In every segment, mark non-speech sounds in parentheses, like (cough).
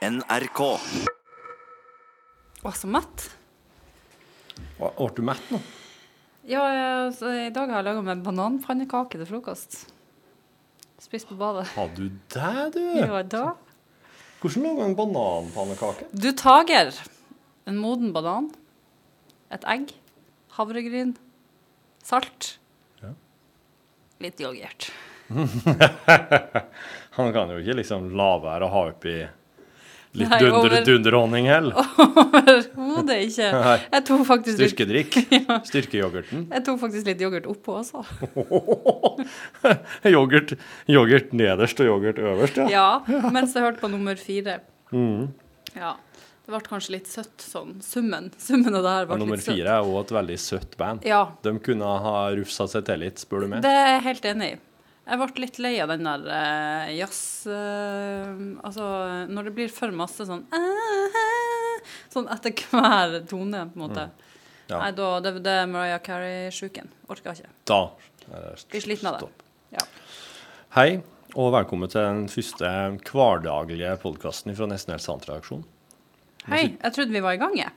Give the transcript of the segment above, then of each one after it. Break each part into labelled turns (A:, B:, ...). A: NRK.
B: Å, så matt.
C: Ble du mett nå?
B: Ja, eh, så I dag har jeg laga meg bananpannekake til frokost. Spist på badet.
C: Har du det, du?
B: Ja, da.
C: Hvordan lager en bananpannekake?
B: Du tager en moden banan, et egg, havregryn, salt.
C: Ja.
B: Litt yoghurt. (laughs)
C: Han kan jo ikke liksom la være å ha oppi litt
B: Nei,
C: dunder,
B: over-
C: dunderhonning heller.
B: Overhodet ikke.
C: (laughs) Nei.
B: Jeg tok faktisk litt,
C: Styrkedrikk.
B: (laughs)
C: Styrkeyoghurten.
B: jeg tok faktisk litt yoghurt oppå også.
C: yoghurt, yoghurt nederst og yoghurt øverst, (laughs) ja. Mm.
B: Ja, mens jeg hørte på nummer fire. Ja. Det ble kanskje litt søtt sånn. Summen summen av det her
C: Og
B: ble
C: nummer
B: litt søtt.
C: fire er også et veldig søtt band.
B: Ja,
C: De kunne ha rufsa seg til litt, spør du meg.
B: det er jeg helt enig i. Jeg ble litt lei av den der eh, jazz eh, Altså, når det blir for masse sånn (laughs) Sånn etter hver tone, på en måte.
C: Mm. Ja.
B: Nei, da, det, det er Mariah Carey-sjuken. Orker ikke.
C: Da er det
B: Blir sliten av det.
C: stopp.
B: Ja.
C: Hei, og velkommen til den første hverdaglige podkasten fra Nesten helt sant-reaksjonen.
B: Hei, jeg trodde vi var i gang, jeg.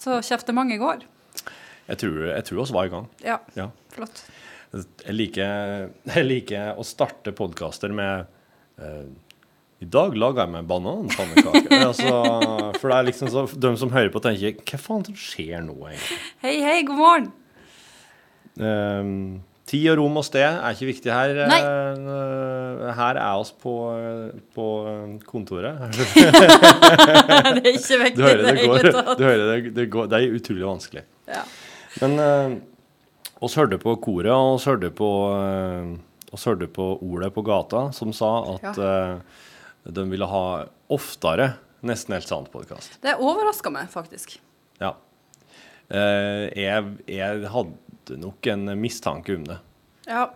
B: Så kjeftemanget går.
C: Jeg tror, jeg tror oss var i gang.
B: Ja,
C: Ja.
B: flott.
C: Jeg liker, jeg liker å starte podkaster med eh, I dag lager jeg meg bananpannekaker. altså, for det er liksom så De som hører på, tenker Hva faen som skjer nå, egentlig?
B: Hei, hei, god
C: (laughs)
B: morgen.
C: Eh, tid og rom og sted er ikke viktig her.
B: Nei.
C: Eh, her er oss på, eh, på kontoret. (laughs)
B: Det er ikke
C: Du
B: viktig i (laughs)
C: hører
B: det
C: det går.
B: hele tatt.
C: Du hører det, det, går, det er utrolig vanskelig.
B: Ja.
C: Men eh, oss hørte på koret, og oss hørte på, eh, oss hørte på ordet på gata, som sa at eh, de ville ha oftere Nesten helt sant-podkast.
B: Det overraska meg faktisk.
C: Ja. Eh, jeg, jeg hadde nok en mistanke om det.
B: Ja.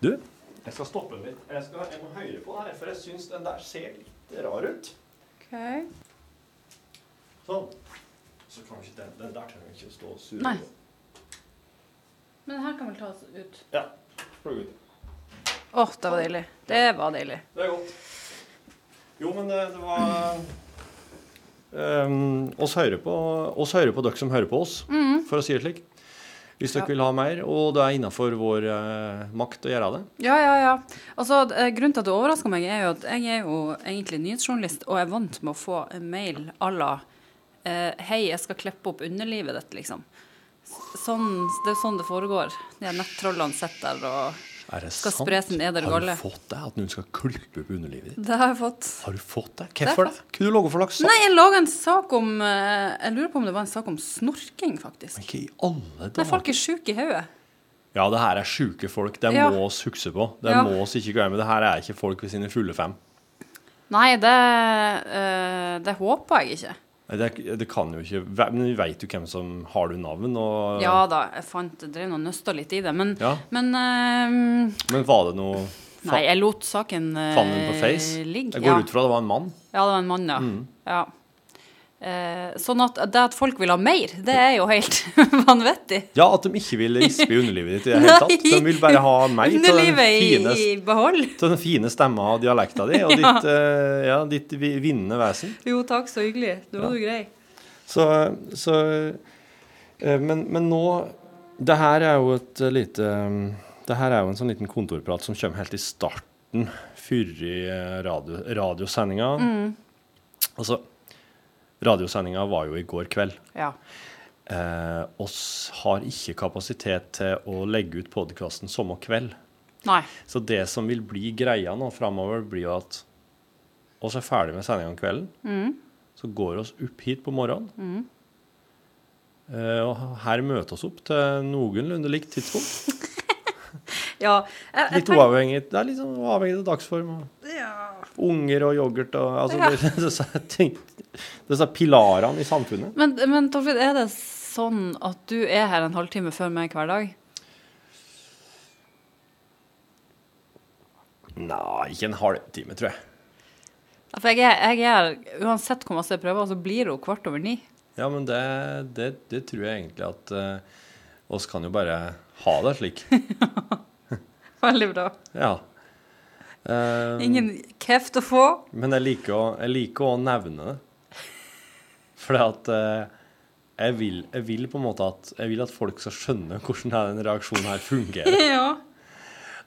C: Du? Jeg skal stoppe litt. Jeg, må høre på her, for jeg syns den der ser litt rar ut.
B: OK.
C: Sånn. Så kan ikke den, der trenger ikke stå og surre.
B: Nei. Men her kan vel tas ut.
C: Ja. Plugg ut.
B: Å, det var deilig. Det var deilig.
C: Det er godt. Jo, men eh, det, det var um, oss, hører på, oss hører på dere som hører på oss,
B: Mm-hmm.
C: for å si det slik. Hvis dere
B: Ja.
C: vil ha mer, og det er innafor vår eh, makt å gjøre det.
B: Ja, ja, ja. Altså, d- eh, grunnen til at det overraska meg, er jo at jeg er jo egentlig nyhetsjournalist, og jeg er vant med å få en mail à la eh, Hei, jeg skal klippe opp underlivet ditt, liksom. S- Sånn, det er sånn det foregår. De her nettrollene sitter der og
C: Er det
B: Skal
C: sant?
B: spre sin edle
C: Har
B: galle.
C: du fått det? At noen skal klippe opp underlivet ditt?
B: Det har jeg fått.
C: Har du fått det?
B: er
C: Hvorfor det? Hva du lager for slags sak?
B: Nei, jeg laga en sak om eh, Jeg lurer på om det var en sak om snorking, faktisk.
C: Ikke i alle
B: Nei,
C: dager.
B: folk er sjuke i hodet.
C: Ja, det her er sjuke folk. Det
B: Ja.
C: må oss huske på. Det
B: Ja.
C: må oss ikke glemme. Det her er ikke folk ved sine fulle fem.
B: Nei, det, eh, det håper jeg ikke.
C: Nei, Det, er- det kan jo ikke Ve- Men vi veit jo hvem som har du navn, og
B: Ja da, jeg fant, jeg drev og nøsta litt i det, men,
C: Ja.
B: men eh,
C: Men var det noe
B: Nei, jeg lot saken eh,
C: Fant den på Face?
B: ligge.
C: Jeg går
B: ja.
C: ut Mm. fra det var en mann.
B: ja, det var en mann, ja. ja. Eh, sånn at det at folk vil ha mer, det er jo helt (laughs) vanvittig.
C: Ja, at de ikke vil rispe i underlivet ditt i det hele tatt. De vil bare ha meg til den
B: Underlivet i,
C: fine,
B: i behold.
C: til den fine stemma og dialekta
B: (laughs)
C: di, og ditt, eh, ja, ditt vi- vinnende vesen.
B: Jo takk, så hyggelig. Det var jo grei.
C: Så, så eh, men, men nå Det her er jo et eh, lite eh, Det her er jo en sånn liten kontorprat som kommer helt i starten før i eh, radio, radiosendinga.
B: Mm.
C: Altså, radiosendinga var jo i går kveld.
B: Ja.
C: Eh, oss har ikke kapasitet til å legge ut podkasten samme kveld.
B: Nei.
C: Så det som vil bli greia nå framover, blir jo at oss er ferdig med sendinga om kvelden.
B: Mm.
C: Så går oss opp hit på morgenen.
B: Mm.
C: Eh, og her møter oss opp til noenlunde likt
B: (laughs)
C: tidspunkt.
B: Ja. Jeg, jeg
C: Litt
B: tenker-
C: uavhengig. Det er litt sånn avhengig av dagsform. og
B: ja.
C: Unger og yoghurt og altså, (laughs)
B: Ja.
C: disse, ting, disse pilarene i samfunnet.
B: Men, men Torfrid, er det sånn at du er her en halvtime før meg hver dag?
C: Nei, ikke en halvtime, tror jeg.
B: Ja, For jeg er, jeg er uansett hvor masse jeg prøver, så blir hun kvart over ni.
C: Ja, men det, det, det tror jeg egentlig at eh, oss kan jo bare ha det slik.
B: Veldig bra.
C: Ja. Eh,
B: Ingen kjeft å få.
C: Men jeg liker, å, jeg liker å nevne det. For at eh, jeg, vil, jeg vil på en måte at Jeg vil at folk skal skjønne hvordan denne reaksjonen her fungerer.
B: (laughs) ja.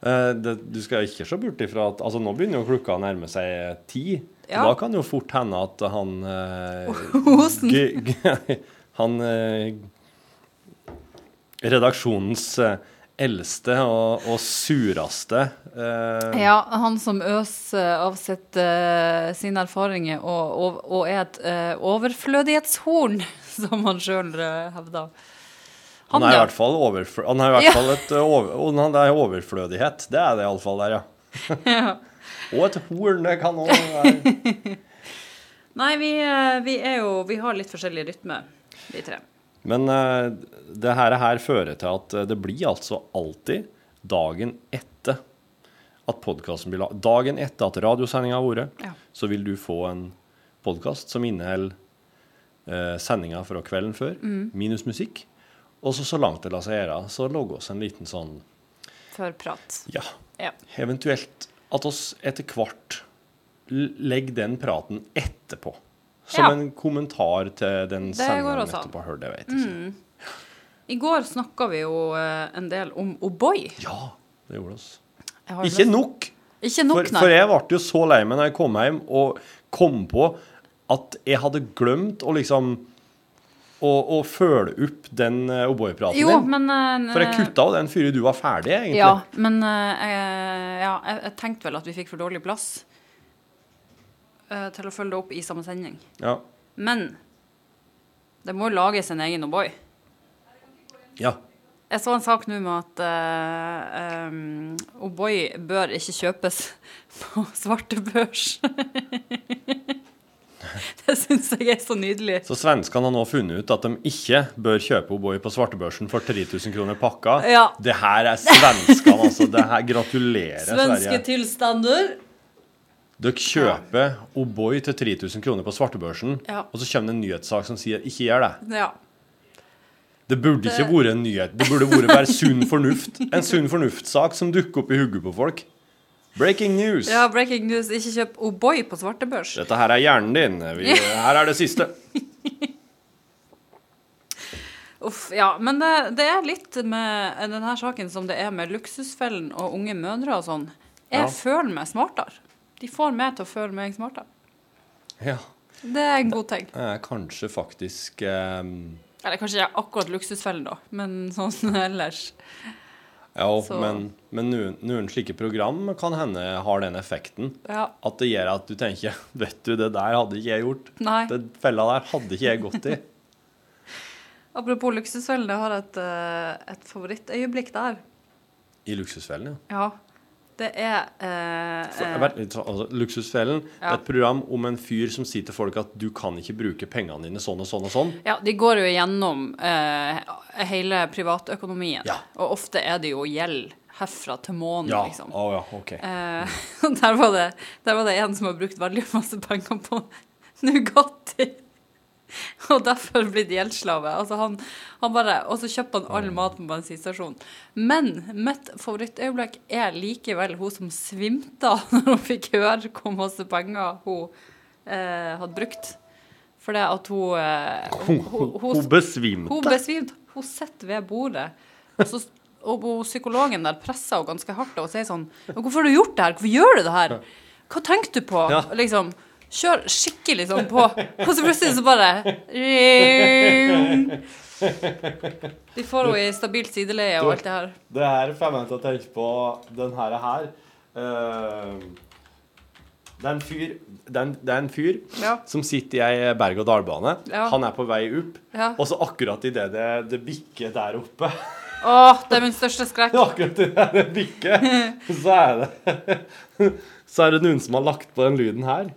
C: Eh, det, du skal ikke se bort ifra at Altså, nå begynner jo klokka å nærme seg ti.
B: Ja.
C: Da kan jo fort hende at han eh,
B: (laughs) Hosen.
C: g- g- (laughs) Han eh, Redaksjonens eh, eldste og, og sureste eh,
B: Ja, han som øser av sitt, eh, sine erfaringer og, og, og er et eh, overflødighetshorn, (laughs) som han sjøl hevder.
C: Han, er i
B: ja.
C: hvert fall overfl han er i hvert
B: Ja.
C: fall et eh, over og han- det er overflødighet. Det er det iallfall der, ja.
B: (laughs)
C: Og et horn, det kan òg være
B: Nei, vi, eh, vi er jo Vi har litt forskjellig rytme, vi tre.
C: Men eh, det her, her fører til at eh, det blir altså alltid dagen etter at podkasten blir la... Dagen etter at radiosendinga har vært,
B: Ja.
C: så vil du få en podkast som inneholder eh, sendinga fra kvelden før,
B: Mm.
C: minus musikk. Og så, så langt det lar seg gjøre, så lager oss en liten sånn
B: Før prat.
C: Ja,
B: Ja.
C: Eventuelt at oss etter hvert l- legger den praten etterpå. Som
B: Ja.
C: en kommentar til den
B: Det går
C: sendingen
B: også
C: vi
B: an. Mm.
C: nettopp har hørt. Jeg vet ikke.
B: I går snakka vi jo eh, en del om O'boy.
C: Ja, det gjorde oss.
B: Jeg har jo
C: Ikke
B: lyst-
C: nok!
B: Ikke
C: For,
B: nok, nei.
C: for jeg ble jo så lei meg når jeg kom hjem og kom på at jeg hadde glemt å liksom Å, å følge opp den eh, O'boy-praten
B: jo,
C: din.
B: men eh,
C: For jeg kutta jo den før du var ferdig, egentlig.
B: Ja, men eh, jeg- ja, jeg, jeg tenkte vel at vi fikk for dårlig plass eh, til å følge det opp i samme sending.
C: Ja.
B: Men det må jo lages en egen O'boy.
C: ja.
B: Jeg så en sak nå med at eh, em, O'boy bør ikke kjøpes (laughs) på svarte børs. (laughs) det syns jeg er så nydelig.
C: Så svenskene har nå funnet ut at de ikke bør kjøpe O'boy på svartebørsen for 3000 kroner pakka.
B: Ja.
C: Det her er svenskene, altså. Det her,
B: (laughs)
C: gratulerer,
B: Svenske
C: Sverige.
B: tilstander.
C: Dere kjøper O'boy til 3000 kroner på svartebørsen,
B: Ja.
C: og så kommer det en nyhetssak som sier 'ikke gjør det'.
B: Ja.
C: Det burde ikke vært en nyhet. Det burde vært bare sunn fornuft. En sunn fornuftsak som dukker opp i hodet på folk. Breaking news.
B: ja, breaking news. Ikke kjøp O'boy på svarte børs.
C: Dette her er hjernen din. Vi, her er det siste.
B: Uff, ja. Men det, det er litt med denne saken som det er med Luksusfellen og unge mødre og sånn. Jeg
C: Ja.
B: føler meg smartere. De får meg til å føle meg smartere.
C: Ja.
B: Det er en god ting.
C: Det er kanskje faktisk eh,
B: Eller kanskje ikke akkurat luksusfellen, da, men sånn (laughs) ellers.
C: Ja,
B: Så-
C: men, men noen, noen slike program kan hende har den effekten.
B: Ja.
C: At det gjør at du tenker (laughs) Vet du, det der hadde ikke jeg gjort.
B: Nei.
C: Den fella der hadde ikke jeg gått i.
B: Apropos luksusfellen, jeg har et, eh, et favorittøyeblikk der.
C: I Luksusfellen, ja.
B: Ja. Det er eh,
C: For,
B: eh,
C: vent litt, altså, luksusfellen
B: Ja.
C: et program om en fyr som sier til folk at du kan ikke bruke pengene dine sånn og sånn og sånn.
B: Ja, de går jo gjennom eh, hele privatøkonomien.
C: Ja.
B: Og ofte er det jo gjeld herfra til månen,
C: Ja.
B: liksom.
C: Å ja, OK.
B: Eh, (laughs) der, var det, der var det en som har brukt veldig masse penger på Nugatti. Og derfor blitt gjeldsslave. Altså han, han bare, og så kjøper han
C: Mm.
B: all mat på bensinstasjonen. Men mitt favorittøyeblikk er likevel hun som svimta (laughs) når hun fikk høre hvor masse penger hun eh, hadde brukt. For det at hun, eh,
C: Hun,
B: hun, hun,
C: hun besvimte.
B: hun besvimte. Hun sitter ved bordet. Og, så, og hun- psykologen der presser henne ganske hardt og sier sånn «Men 'Hvorfor har du gjort det her? Hvorfor gjør du det her? Hva tenkte du på?'
C: Ja.
B: Liksom. Kjør skikkelig sånn på. Og så plutselig så bare De får henne i stabilt sideleie og alt det her.
C: Det her får meg til å tenke på den her. her. Eh, det, er en fyr, det, er en, det er en fyr
B: Ja.
C: som sitter i ei berg-og-dal-bane.
B: Ja.
C: Han er på vei opp,
B: Ja.
C: og så akkurat idet det, det bikker der oppe
B: Åh, det er min største skrekk.
C: Akkurat idet det bikker, så er det (laughs) Så er det noen som har lagt på den lyden her.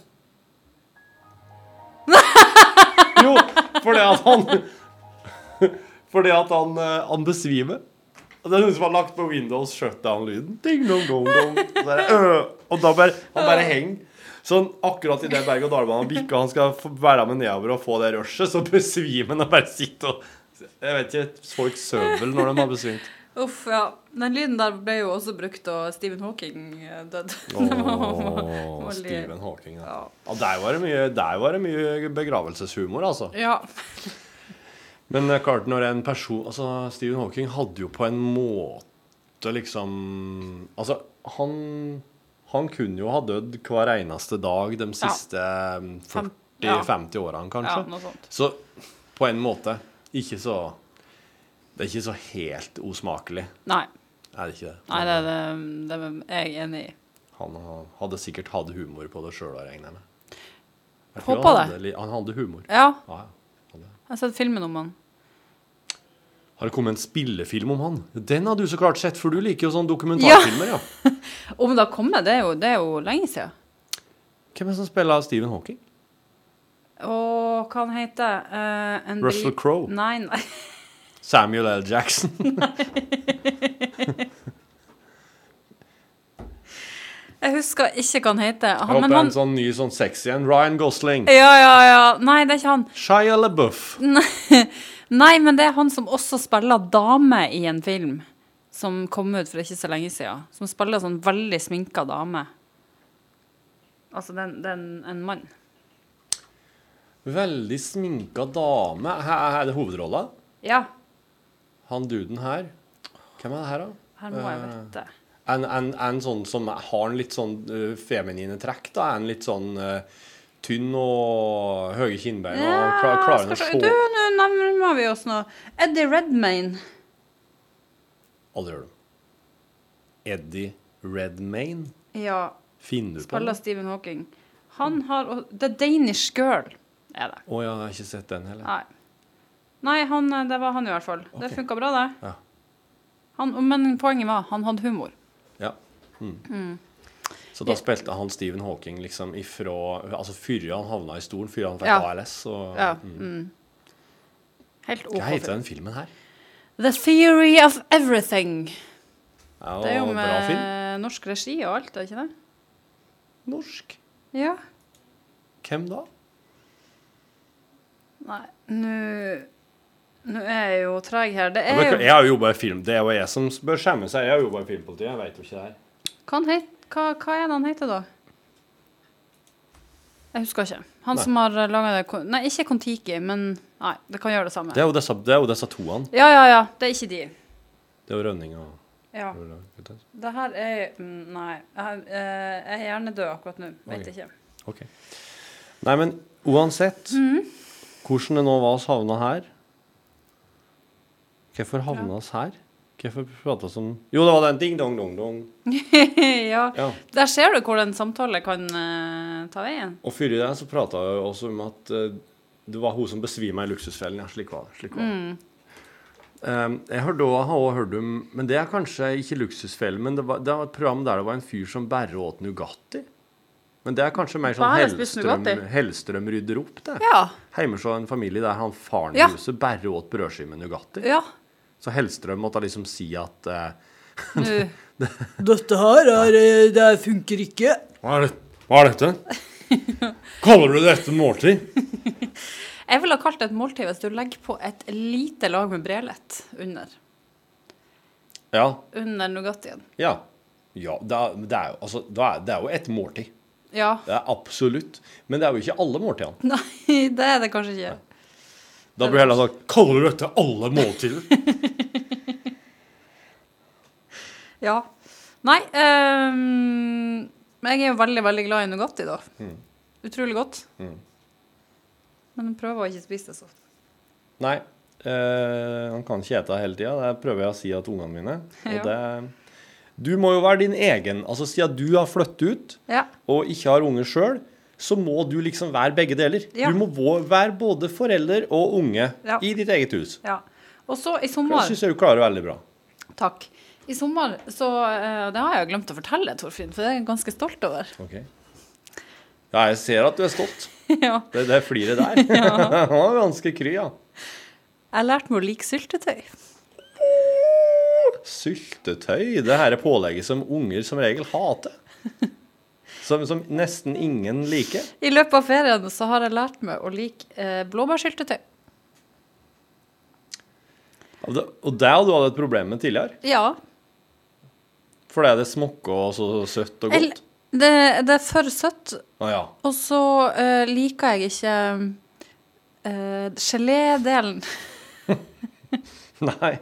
C: Jo, fordi at han (laughs) Fordi at han, eh, han besvimer. Og det er noen som har lagt på Windows shutdown-lyden. Ding, dong, dong, dong. Og, så er det, øh, og da bare, han bare henger. Sånn akkurat idet berg-og-dal-banen bikker, og han skal få være med nedover og få det rushet, så besvimer han og bare sitter og Jeg vet ikke, folk sover vel når de har besvimt.
B: Uff, ja. Den lyden der ble jo også brukt da Stephen Hawking eh, døde. (laughs) Det var-
C: Åh,
B: var litt-
C: Stephen Hawking. Ja.
B: Ja.
C: Ja, der, var det mye, der var det mye begravelseshumor, altså.
B: ja.
C: Men eh, klart, når en person Altså, Stephen Hawking hadde jo på en måte liksom Altså, han Han kunne jo ha dødd hver eneste dag de siste
B: Fem- ja.
C: 40-50 årene, kanskje.
B: ja, noe sånt.
C: Så på en måte ikke så Det er ikke så helt usmakelig,
B: Nei,
C: er det ikke det?
B: nei det, det, det er jeg enig i.
C: Han ha- hadde sikkert hatt humor på det sjøl, regner jeg med. Jeg tror
B: Håper
C: han
B: det.
C: hadde li- Han hadde humor.
B: Ja,
C: Ja, ja. Han hadde-
B: jeg har sett filmen om han.
C: Har det kommet en spillefilm om han? Den har du så klart sett, for du liker jo sånne dokumentarfilmer, ja.
B: Om det har kommet, det er jo, det er jo lenge siden.
C: Hvem er det som spiller Stephen Hawking?
B: Og hva han heter eh, en
C: Russell
B: bri-
C: Crowe.
B: Nei, nei. (laughs)
C: Samuel L. Jackson.
B: Jeg husker ikke hva han heter.
C: Jeg
B: Han,
C: håper
B: men
C: en
B: han
C: sånn ny sånn sexy en. Ryan Gosling.
B: Ja, ja, ja. Nei, det er ikke han.
C: Shia LaBeouf.
B: (laughs) Nei, men det er han som også spiller dame i en film som kom ut for ikke så lenge siden. Som spiller sånn veldig sminka dame. Altså, det er en- det er en- en mann.
C: Veldig sminka dame. Her er det hovedrolla?
B: Ja,
C: Han duden her. Hvem er det her, da?
B: her må jeg vite.
C: En, en, en sånn som har en litt sånn eh, feminine trekk, da. En litt sånn eh, tynn og høye kinnbein. og
B: Ja,
C: klar, klarer han å
B: skal
C: se
B: se- Du, nå nærmer vi oss nå. Eddie Redmayne.
C: Alle gjør det. Eddie Redmayne.
B: Ja,
C: Finner du på
B: spiller
C: det?
B: Stephen Hawking. Han har og- The Danish Girl er det.
C: Å ja, jeg har ikke sett den heller.
B: Nei. Nei, han, eh, det var han i hvert fall. Det
C: Ok.
B: funka bra, det.
C: Ja.
B: Han, men poenget var, han hadde humor.
C: Ja. Mm. Så da spilte han Stephen Hawking liksom ifra Altså før han havna i stolen, før han fikk
B: Ja.
C: ALS og
B: Ja.
C: mm.
B: Mm. Helt OK.
C: Hva heter den filmen her?
B: The Theory of Everything.
C: Ja,
B: Det er jo
C: bra film.
B: med norsk regi og alt, er ikke det?
C: Norsk.
B: Ja.
C: Hvem da?
B: Nei, nå Nå er jeg jo treg her. Det
C: Jeg,
B: er
C: jeg
B: jo
C: har jo jobba i film. Det er jo jeg som bør skjemme seg. Jeg har jobba i filmpolitiet. Jeg vet jo ikke det her.
B: Hva, han het, hva, hva er det han heter, da? Jeg husker ikke. Han
C: Nei.
B: som har laga det kon- Nei, ikke Kon-Tiki, men Nei, det kan gjøre det samme.
C: Det er jo disse, det er jo disse toene.
B: Ja, ja, ja. Det er ikke de.
C: Det er jo Rønning og
B: Ja. Det her er mm, Nei. Jeg, eh, jeg er hjernedød akkurat nå. Vet
C: Oi.
B: ikke.
C: Ok. Nei, men uansett hvordan det nå var oss havna her Hvorfor havna oss her? Hvorfor prata vi om Jo, det var den ding-dong-dong-dong.
B: (laughs) ja.
C: Ja.
B: Der ser du hvor en samtale kan eh, ta veien.
C: Og før i det så prata vi også om at eh, det var hun som besvima i luksusfellen. Ja, slik var det. Slik var det.
B: Mm.
C: Eh, jeg har da har også hørt om Men det er kanskje ikke luksusfellen, men det var, det var et program der det var en fyr som bare åt Nugatti. Men det er kanskje mer sånn
B: Bare spist
C: Hellstrøm,
B: Nugatti?
C: Hellstrøm rydder opp, det.
B: Ja.
C: Hjemme så en familie der han faren i
B: Ja.
C: huset bare åt brødskive med Nugatti.
B: Ja.
C: Så Hellstrøm måtte liksom si at eh,
B: Nå.
D: Dette her er, eh, det her funker ikke.
C: hva, er det, hva
B: (laughs)
C: er dette? Kaller du det et måltid?
B: Jeg ville ha kalt det et måltid hvis du legger på et lite lag med brelett under.
C: Ja.
B: Under Nugattien.
C: Ja. ja det, er, det, er jo, altså, det, er, det er jo et måltid.
B: Ja. (laughs)
C: Det er absolutt. Men det er jo ikke alle måltidene.
B: Nei, det er det kanskje ikke.
C: Da blir det heller sagt Kaller du dette alle måltider?
B: Ja. Nei, ehm, men jeg er jo veldig, veldig glad i Nugatti, da. Utrolig godt. Men jeg prøver å ikke spise det så ofte.
C: (laughs) Nei. eh, han kan ikke ete hele tida. Det prøver jeg å si til ungene mine. Og det, du må jo være din egen. Altså, Siden du har flyttet ut
B: Ja.
C: og ikke har unger sjøl, så må du liksom være begge deler.
B: Ja.
C: Du må vå- være både forelder og unge
B: Ja.
C: i ditt eget hus.
B: ja. Og så i
C: Det
B: sommer
C: syns jeg du klarer veldig bra.
B: Takk. I sommer så eh, Det har jeg glemt å fortelle, Torfinn, for det er jeg ganske stolt over. (laughs)
C: Ok. Ja, jeg ser at du er stolt.
B: ja.
C: Det, det
B: (laughs)
C: fliret der. Han var ganske kry, ja.
B: Jeg lærte meg å like syltetøy.
C: Syltetøy. Det her er pålegget som unger som regel hater. Som, som nesten ingen liker.
B: I løpet av ferien så har jeg lært meg å like eh, blåbærsyltetøy.
C: Og det og det hadde du hatt et problem med tidligere.
B: Ja.
C: For det er det smokke og så søtt og
B: Eller-
C: godt.
B: Det, det er for søtt,
C: Å ja. (laughs)
B: og så eh, liker jeg ikke eh, gelédelen.
C: Nei.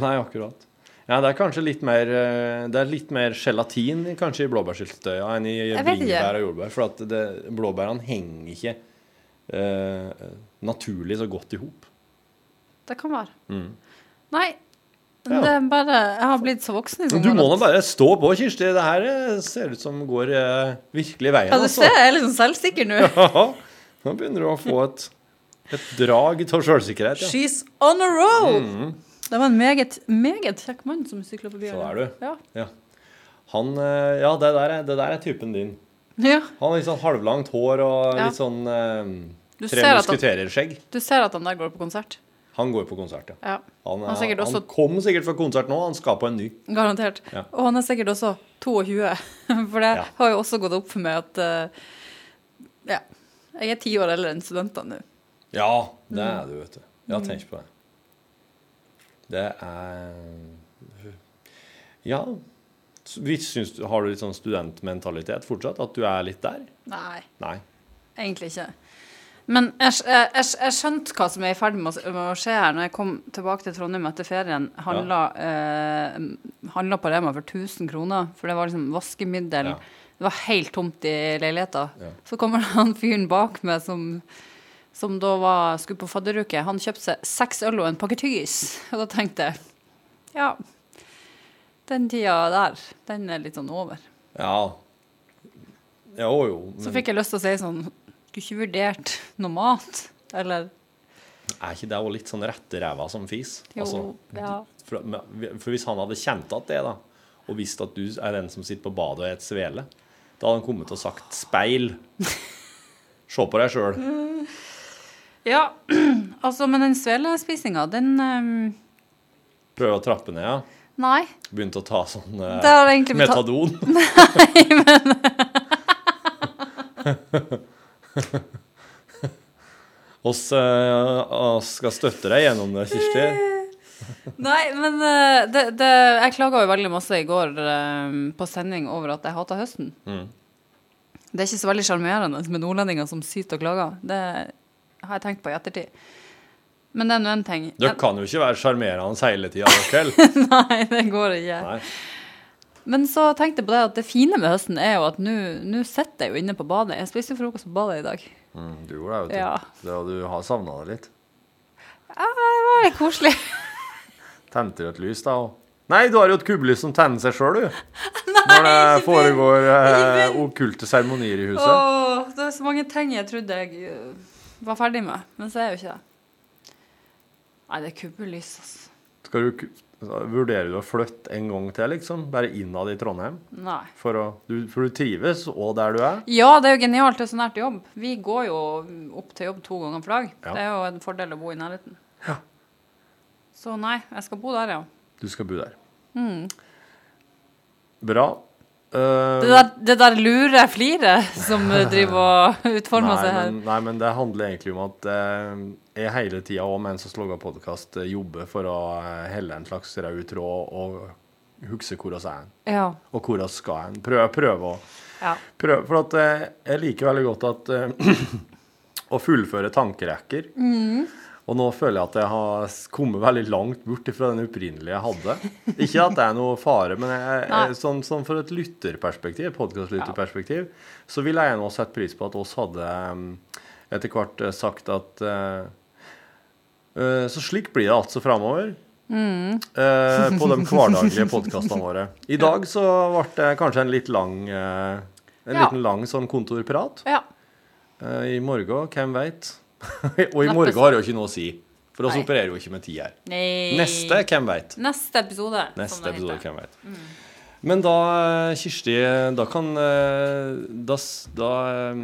C: Nei, akkurat. Ja, det er kanskje litt mer eh, Det er litt mer gelatin i- kanskje i blåbærsyltetøya enn i
B: Jeg vet ikke.
C: bringebær og jordbær. For at det, blåbærene henger ikke eh, naturlig så godt i hop.
B: Det kan være.
C: Mm.
B: Nei.
C: Ja.
B: Det er bare Jeg har blitt så voksen i
C: Men
B: sommer.
C: Du må
B: at-
C: da bare stå på, Kirsti. Det her eh, ser ut som går eh, virkelig veien.
B: Ja, du ser jeg er liksom selvsikker nå.
C: altså. (laughs) Ja, Nå begynner du å få et, et drag av sjølsikkerhet. Ja.
B: She's on a roll!
C: Mhm.
B: Det var en meget, meget kjekk mann som sykla forbi.
C: Så
B: her.
C: er du.
B: Ja.
C: Han eh, Ja, det der, er, det der er typen din.
B: ja.
C: Han har litt sånn halvlangt hår og
B: Ja.
C: litt sånn eh,
B: Du
C: Tre
B: ser at han-
C: musketererskjegg.
B: Du ser at han der går på konsert.
C: Han går på konsert, ja.
B: Ja. Han
C: Han, er,
B: er
C: han,
B: sikkert også-
C: kom sikkert fra konsert nå, han skal på en ny.
B: Garantert.
C: Ja.
B: Og han er sikkert også 22, (laughs) for det
C: Ja.
B: har jo også gått opp for meg at eh, Ja. Jeg er ti år eldre enn studentene nå.
C: Ja, det er du, vet du. Ja, tenk på det. Det er Ja. Vi syns, har du litt sånn studentmentalitet fortsatt? At du er litt der?
B: Nei,
C: Nei.
B: egentlig ikke. Men jeg, skj- jeg, jeg, jeg skjønte hva som er i ferd med å, s- med å skje her. Når jeg kom tilbake til Trondheim etter ferien, handla, eh, handla på Rema for 1000 kroner. For det var liksom vaskemiddel.
C: Ja.
B: Det var helt tomt i leiligheta.
C: Ja.
B: Så kommer (laughs) det han fyren bak meg som, som da var, skulle på fadderuke. Han kjøpte seg seks øl og en pakke tyggis. Og da tenkte jeg ja, den tida der, den er litt sånn over.
C: Ja. Jo, jo.
B: Så
C: Men
B: fikk jeg lyst til å si sånn Skulle ikke vurdert noe mat, eller?
C: er ikke det også litt sånn rette ræva som fis?
B: Jo,
C: Altså,
B: ja.
C: for, men- for hvis han hadde kjent at det, da, og visst at du er den som sitter på badet og et svele, da hadde han kommet og sagt
B: (laughs)
C: 'speil'. Se på deg sjøl.
B: Ja, (clears throat) altså, men den svelespisinga, den ehm,
C: Prøve å trappe ned, ja.
B: Nei.
C: Begynte å ta sånn eh,
B: Det har jeg egentlig betalt
C: metadon.
B: (laughs)
C: (laughs) Oss, eh, oss skal støtte deg gjennom det, Kirsti.
B: (laughs) Nei, men eh, det, det, jeg klaga jo veldig masse i går ehm, på sending over at jeg hata høsten.
C: Mm.
B: Det er ikke så veldig sjarmerende med nordlendinger som syter og klager. Det har jeg tenkt på i ettertid. Men det er nå én ting.
C: Dere kan jo ikke være sjarmerende hele tida, dere.
B: (laughs) Nei, det går ikke.
C: Nei.
B: Men så tenkte jeg på det at det fine med høsten er jo at nå nå sitter jeg jo inne på badet. Jeg spiste jo frokost på badet i dag.
E: Mm, du gjorde det, vet du.
B: Ja.
E: Det, og du har savna det litt.
B: Det var litt koselig. (laughs)
E: Tente du et lys, da? Og...
C: Nei, du har jo et kubbelys som tenner seg sjøl, du.
E: Når det foregår eh, okkulte seremonier i huset.
B: Åh, det er så mange ting jeg trodde jeg øh, var ferdig med, men så er jeg jo ikke det. Nei, det er kubbelys, altså.
C: Skal du ku- Vurderer du å flytte en gang til, liksom? Bare innad i Trondheim?
B: Nei.
C: For, å, du, for du trives, og der du er?
B: Ja, det er jo genialt, det er så nært jobb. Vi går jo opp til jobb to ganger for dag.
C: Ja.
B: Det er jo en fordel å bo i nærheten. Så nei, jeg skal bo der, ja.
C: Du skal bo der. Bra.
B: Mm.
C: Eh,
B: Det der, det der lure fliret
C: (laughs)
B: som øh, driver og utformer
C: nei,
B: seg her.
C: Men, nei, men det handler egentlig om at eh, jeg hele tida òg, mens vi lager podkast, jobber for å eh, helle en slags rød tråd og huske hvor vi er,
B: Ja.
C: og hvor vi skal hen. Prøve, prøve å
B: ja.
C: prøve, For at eh, jeg liker veldig godt at eh, (clears throat) å fullføre tankerekker. Og nå føler jeg at jeg har s- kommet veldig langt bort fra den opprinnelige jeg hadde. Ikke at det er noe fare, men jeg,
B: Nei.
C: jeg, sånn, sånn for et lytterperspektiv, podkastlytterperspektiv, så ville jeg nå sett pris på at oss hadde mm, etter hvert eh, sagt at eh, eh, Så slik blir det altså framover.
B: Mm.
C: eh, på de hverdaglige podkastene våre. I dag så ble det kanskje en litt lang eh, En
B: Ja.
C: liten lang sånn kontorprat.
B: ja.
C: Eh, I morgen, hvem veit? (laughs) og i
B: Neppe
C: morgen
B: så.
C: har jeg jo ikke noe å si. For oss
B: Nei.
C: opererer jo ikke med tid her.
B: Nei.
C: Neste, hvem veit?
B: Neste episode. som
C: Neste
B: det Mm. heter.
C: episode, hvem veit. Men da, eh, Kirsti, da kan eh, Da, s- da, eh,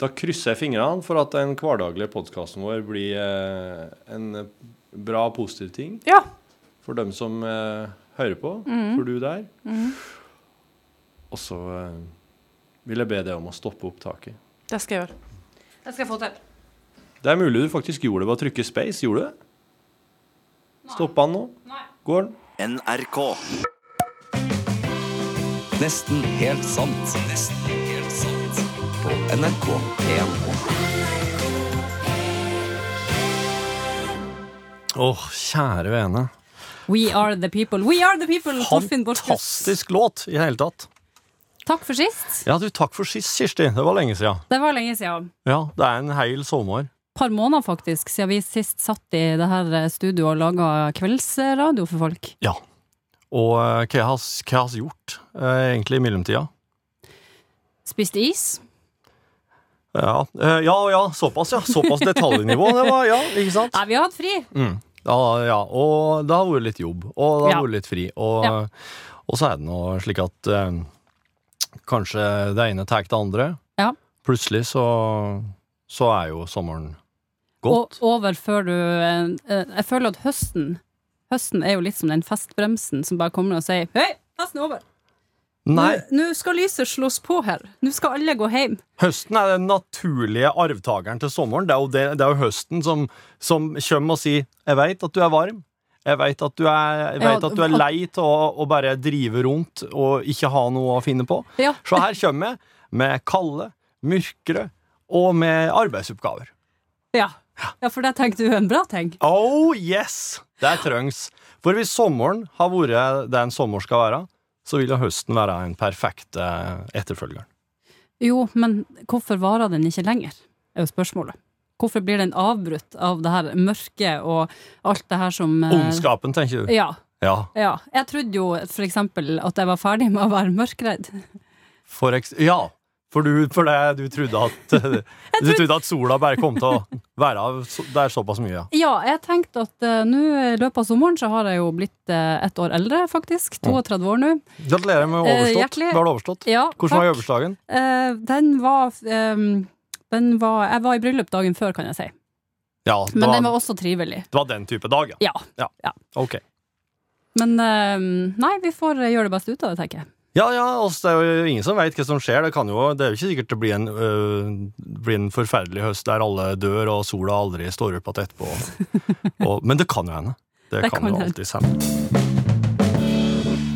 C: da krysser jeg fingrene for at den hverdaglige podkasten vår blir eh, en bra, positiv ting
B: Ja.
C: for dem som eh, hører på, for du der. Og så eh, vil jeg be deg om å stoppe opptaket.
B: Det skal jeg gjøre. Det skal jeg få til.
C: Det er mulig du faktisk gjorde det ved å trykke space. Gjorde du det? Stopper han nå? Går han?
A: NRK. Nesten helt sant. Nesten helt sant. På NRK1.
C: Åh, kjære vene.
B: We are the people. We are the people! Torfinn Borchhus.
C: Fantastisk låt i hele tatt.
B: Takk for sist.
C: Ja, du, takk for sist, Kirsti. Det var lenge siden.
B: Det var lenge siden.
C: Ja, det er en heil sommer.
B: par måneder faktisk, siden vi sist satt i det her studioet og laga kveldsradio for folk.
C: Ja. Og eh, hva jeg har hva jeg har gjort, eh, egentlig, i mellomtida?
B: Spist is.
C: Ja, eh, ja, ja, såpass, ja. Såpass detaljnivå. Det var, ja, ikke sant?
B: Nei, vi har hatt fri!
C: Mm. Ja, ja, og det har vært litt jobb, og det har
B: Ja.
C: vært litt fri. Og,
B: Ja.
C: og så er det nå slik at eh, kanskje det ene tar det andre.
B: Ja.
C: Plutselig så, så er jo sommeren
B: Og
C: gått.
B: over før du eh, eh, Jeg føler at høsten Høsten er jo litt som den festbremsen som bare kommer og sier Hei, festen er over! Nå,
C: Nei,
B: nå skal lyset slås på her. Nå skal alle gå hjem.
C: høsten er den naturlige arvtakeren til sommeren. Det er jo, det, det er jo høsten som, som kommer og sier 'Jeg veit at du er varm'. Jeg veit at, du er- jeg
B: Ja,
C: vet at du er
B: og-
C: lei av å, å bare drive rundt og ikke ha noe å finne på.
B: Ja.
C: Så her kommer jeg med kalde, mørkere og med arbeidsoppgaver.
B: Ja. ja, for det tenker du er en bra ting.
C: Oh yes! Det trengs. For hvis sommeren har vært det en sommer skal være, så vil jo høsten være den perfekte etterfølgeren.
B: Jo, men hvorfor varer den ikke lenger? Er jo spørsmålet. Hvorfor blir den avbrutt av det her mørket og alt det her som eh,
C: Ondskapen, tenker du.
B: Ja.
C: Ja.
B: Ja, jeg trodde jo for eksempel at jeg var ferdig med å være mørkredd.
C: For, eks ja. for, du, for det, du, trodde
B: (laughs)
C: at, du trodde at sola bare kom til å være av så- Det er såpass mye, ja.
B: Ja, jeg tenkte at eh, nå i løpet av sommeren så har jeg jo blitt eh, ett år eldre, faktisk. 32 år nå.
C: Gratulerer med
B: Eh,
C: overstått.
B: hjertelig.
C: Da har du overstått.
B: Ja,
C: Hvordan var
B: takk.
C: øvelsesdagen?
B: Eh, den var ehm, den var, Jeg var i bryllup dagen før, kan jeg si.
C: Ja, det
B: Men den
C: var,
B: var også trivelig.
C: det var den type dag, ja.
B: Ja.
C: Ok.
B: Men ehm, nei, vi får eh, gjøre det beste ut av det, tenker jeg.
C: Ja, ja, altså, det er jo ingen som veit hva som skjer. Det, kan jo, det er jo ikke sikkert det blir en, øh, blir en forferdelig høst der alle dør og sola aldri står opp igjen etterpå.
B: (laughs)
C: Og, men det kan jo hende. Det,
B: Det
C: kan,
B: kan
C: jo
B: hende.
C: alltid hende.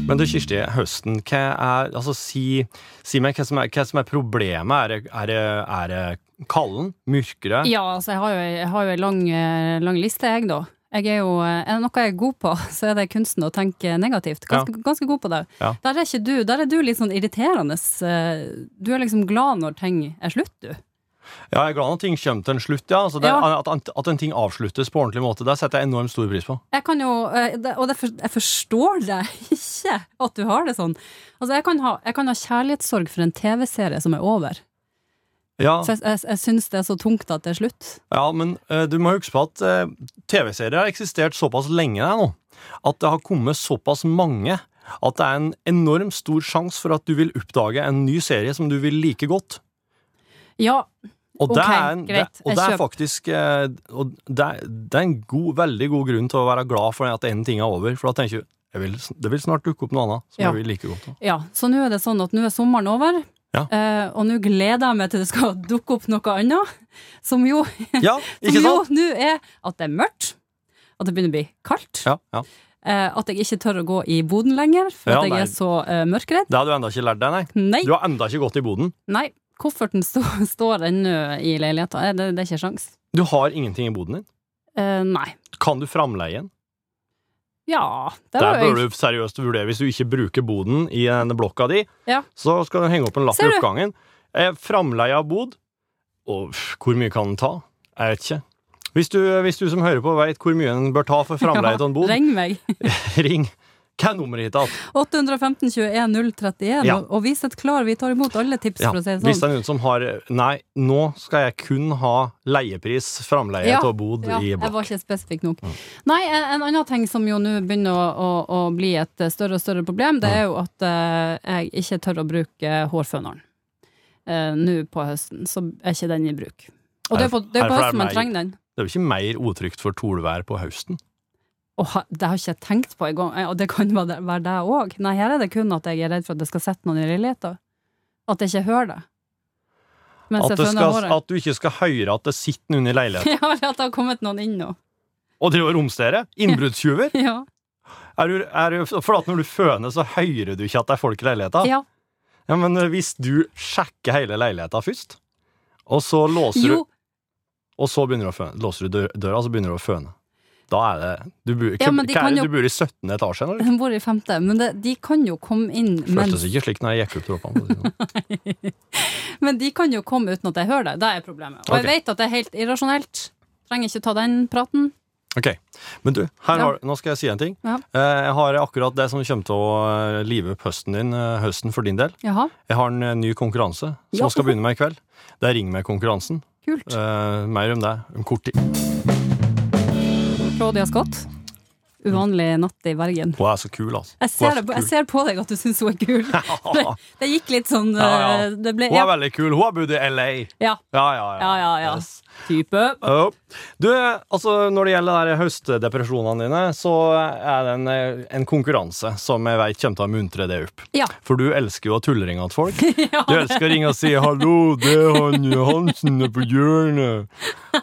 C: Men du, Kirsti, høsten, hva er Altså, si, si meg hva som er, hva som er problemet. Er det, er det, er det kalden? Mørkere?
B: Ja, altså jeg har jo, jeg har jo ei lang, eh, lang liste, jeg, da. Jeg er jo, eh, er det noe jeg er god på, (laughs) så er det kunsten å tenke negativt. Ganske, ganske god på det.
C: Ja.
B: Der er ikke du. Der er du litt sånn irriterende. eh, Du er liksom glad når ting er slutt, du.
C: Ja, jeg er glad når ting kommer til en slutt, ja. Altså, det,
B: Ja.
C: At, at, at en ting avsluttes på ordentlig måte. Det setter jeg enormt stor pris på.
B: Jeg kan jo, eh, det- og det, for- jeg forstår deg (laughs) ikke at du har det sånn. Altså, jeg kan ha, jeg kan ha kjærlighetssorg for en TV-serie som er over.
C: Ja.
B: Så jeg, jeg, jeg syns det er så tungt at det er slutt.
C: Ja, men eh, du må huske på at eh, TV-serier har eksistert såpass lenge der nå, at det har kommet såpass mange at det er en enorm stor sjanse for at du vil oppdage en ny serie som du vil like godt.
B: Ja,
C: Og det
B: Ok,
C: er, en,
B: greit.
C: det, og
B: Jeg
C: det er
B: kjøper.
C: faktisk eh, og det, er- det er en god, veldig god grunn til å være glad for at en ting er over, for da tenker du jeg vil, det vil snart dukke opp noe annet som
B: Ja.
C: jeg vil like
B: (laughs)
C: godt.
B: ja. Så nå er det sånn at nå er sommeren over.
C: Ja.
B: eh, Og nå gleder jeg meg til det skal (laughs) dukke opp noe annet. Som jo,
C: Ja,
B: som
C: ikke
B: jo
C: sant?
B: nå er at det er mørkt. At det begynner å bli kaldt.
C: Ja, ja.
B: eh, At jeg ikke tør å gå i boden lenger, for
C: Ja,
B: at jeg
C: nei.
B: er så eh, mørkredd.
C: Det har du enda ikke lært deg, nei.
B: Nei.
C: Du har enda ikke gått i boden.
B: Nei, kofferten stå, (laughs) står ennå i leiligheta. Eh, Det, det er ikke sjans.
C: Du har ingenting i boden din.
B: Eh, nei.
C: Kan du framleie en?
B: Ja, det
C: Der
B: var jo
C: bør du seriøst vurdere Hvis du ikke bruker boden i denne blokka di,
B: Ja.
C: så skal du henge opp en lapp i
B: Ser du?
C: oppgangen. Eh, Framleie av bod Og pff, hvor mye kan den ta? Jeg vet ikke. Hvis du, hvis du som hører på vet hvor mye en bør ta for framleie av en bod, ring.
B: Ring meg.
C: Hva er nummeret ditt?
B: 815 21 031,
C: Ja.
B: og, og vis et klar. Vi tar imot alle tips,
C: Ja,
B: for å si det
C: hvis det
B: sånn.
C: er noen som har Nei, nå skal jeg kun ha leiepris, framleie
B: Ja,
C: av bod
B: Ja,
C: i
B: jeg
C: blokk.
B: var ikke spesifikk nok. Nei, en, en annen ting som jo nå begynner å, å, å bli et eh, større og større problem, det er jo at eh, jeg ikke tør å bruke hårføneren. Eh, nå på høsten, så er ikke den i bruk. Og det er på, det er på
C: Er det fordi det er
B: høsten man
C: meg?
B: trenger den.
C: Det er jo ikke mer utrygt for tolvær på høsten.
B: Åh, det har ikke jeg tenkt på engang, og det kan være det- være det òg. Nei, her er det kun at jeg er redd for at det skal sette noen i leiligheta. At jeg ikke hører det. Mens
C: At,
B: jeg
C: det
B: føner
C: skal,
B: håret. (laughs)
C: at du ikke skal høre at det sitter noen i leiligheten.
B: Ja, eller at det har kommet noen inn nå. (laughs)
C: Og driver og romsterer? Innbruddstyver?
B: Ja.
C: Er du, er du, for at når du føner, så hører du ikke at det er folk i leiligheta?
B: ja.
C: Ja, men eh, hvis du sjekker hele leiligheta først, og så låser
B: Jo,
C: du Og så begynner du å føne. Låser du dø- døra, så begynner du å føne. Da er det Du bor,
B: Ja, men de
C: hva er
B: kan
C: det,
B: jo-
C: du bor i 17. etasje, eller?
B: de bor i femte, men det, de kan jo komme inn
C: Føltes
B: mens
C: ikke slik når jeg gikk opp trappene. for å si
B: (laughs)
C: det sånn.
B: Men de kan jo komme uten at jeg hører det. Det er problemet. Og
C: Ok.
B: jeg vet at det er helt irrasjonelt. Trenger ikke ta den praten.
C: Ok, Men du, her
B: Ja.
C: har, nå skal jeg si en ting.
B: Ja.
C: Eh, Jeg har akkurat det som kommer til å eh, live opp høsten din, eh, høsten for din del.
B: Jaha,
C: Jeg har en eh, ny konkurranse som
B: Ja.
C: skal begynne med i kveld. Det er Ring meg-konkurransen.
B: kult.
C: Eh, mer om det om kort tid. Eh.
B: Claudia Scott. Uvanlig natt i Bergen.
C: Hun er så kul, altså.
B: Jeg
C: Hun
B: ser,
C: er
B: det,
C: så
B: på- jeg
C: kul.
B: ser på deg at du syns hun er
C: (laughs)
B: kul. Det, det gikk litt sånn
C: Ja, ja.
B: eh, Det ble
C: Hun er
B: ja,
C: veldig kul. Hun har bodd i LA.
B: ja,
C: Ja, ja, ja.
B: ja, ja, ja.
C: Yes.
B: Type.
C: Ja. Du, altså Når det gjelder de her høstdepresjonene dine, så er det en, eh, en konkurranse som jeg vet kommer til å muntre deg opp.
B: Ja.
C: For du elsker jo å tulleringe til
B: (laughs)
C: folk.
B: Ja.
C: Du elsker å ringe og si 'hallo, det er han eh, Hansen på hjørnet'.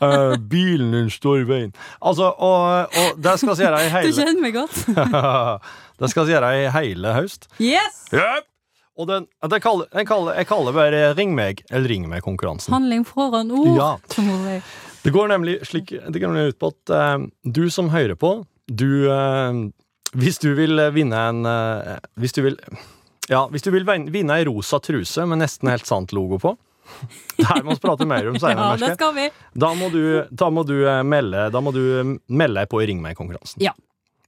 C: Eh, bilen din står i veien. Altså, og, og det skal vi gjøre i
B: (laughs) Du
C: hele
B: kjenner meg godt.
C: (laughs) Det skal vi gjøre i hele høst.
B: Yes!
C: Yep. Og den, den kaller, den kaller, jeg kaller bare 'ring meg' eller 'ring meg'-konkurransen.
B: Handling foran ord.
C: Ja.
B: Som hun sier.
C: Det går nemlig slik Det går nemlig ut på at eh, du som hører på, du eh, Hvis du vil eh, vinne en eh, Hvis du vil Ja, hvis du vil vin- vinne ei rosa truse med nesten helt sant logo på (laughs) Det her må vi prate mer om
B: ja,
C: seinere,
B: det
C: merker jeg.
B: skal vi.
C: Da må du, da må du eh, melde Da må du eh, melde deg på i Ring meg-konkurransen.
B: Ja.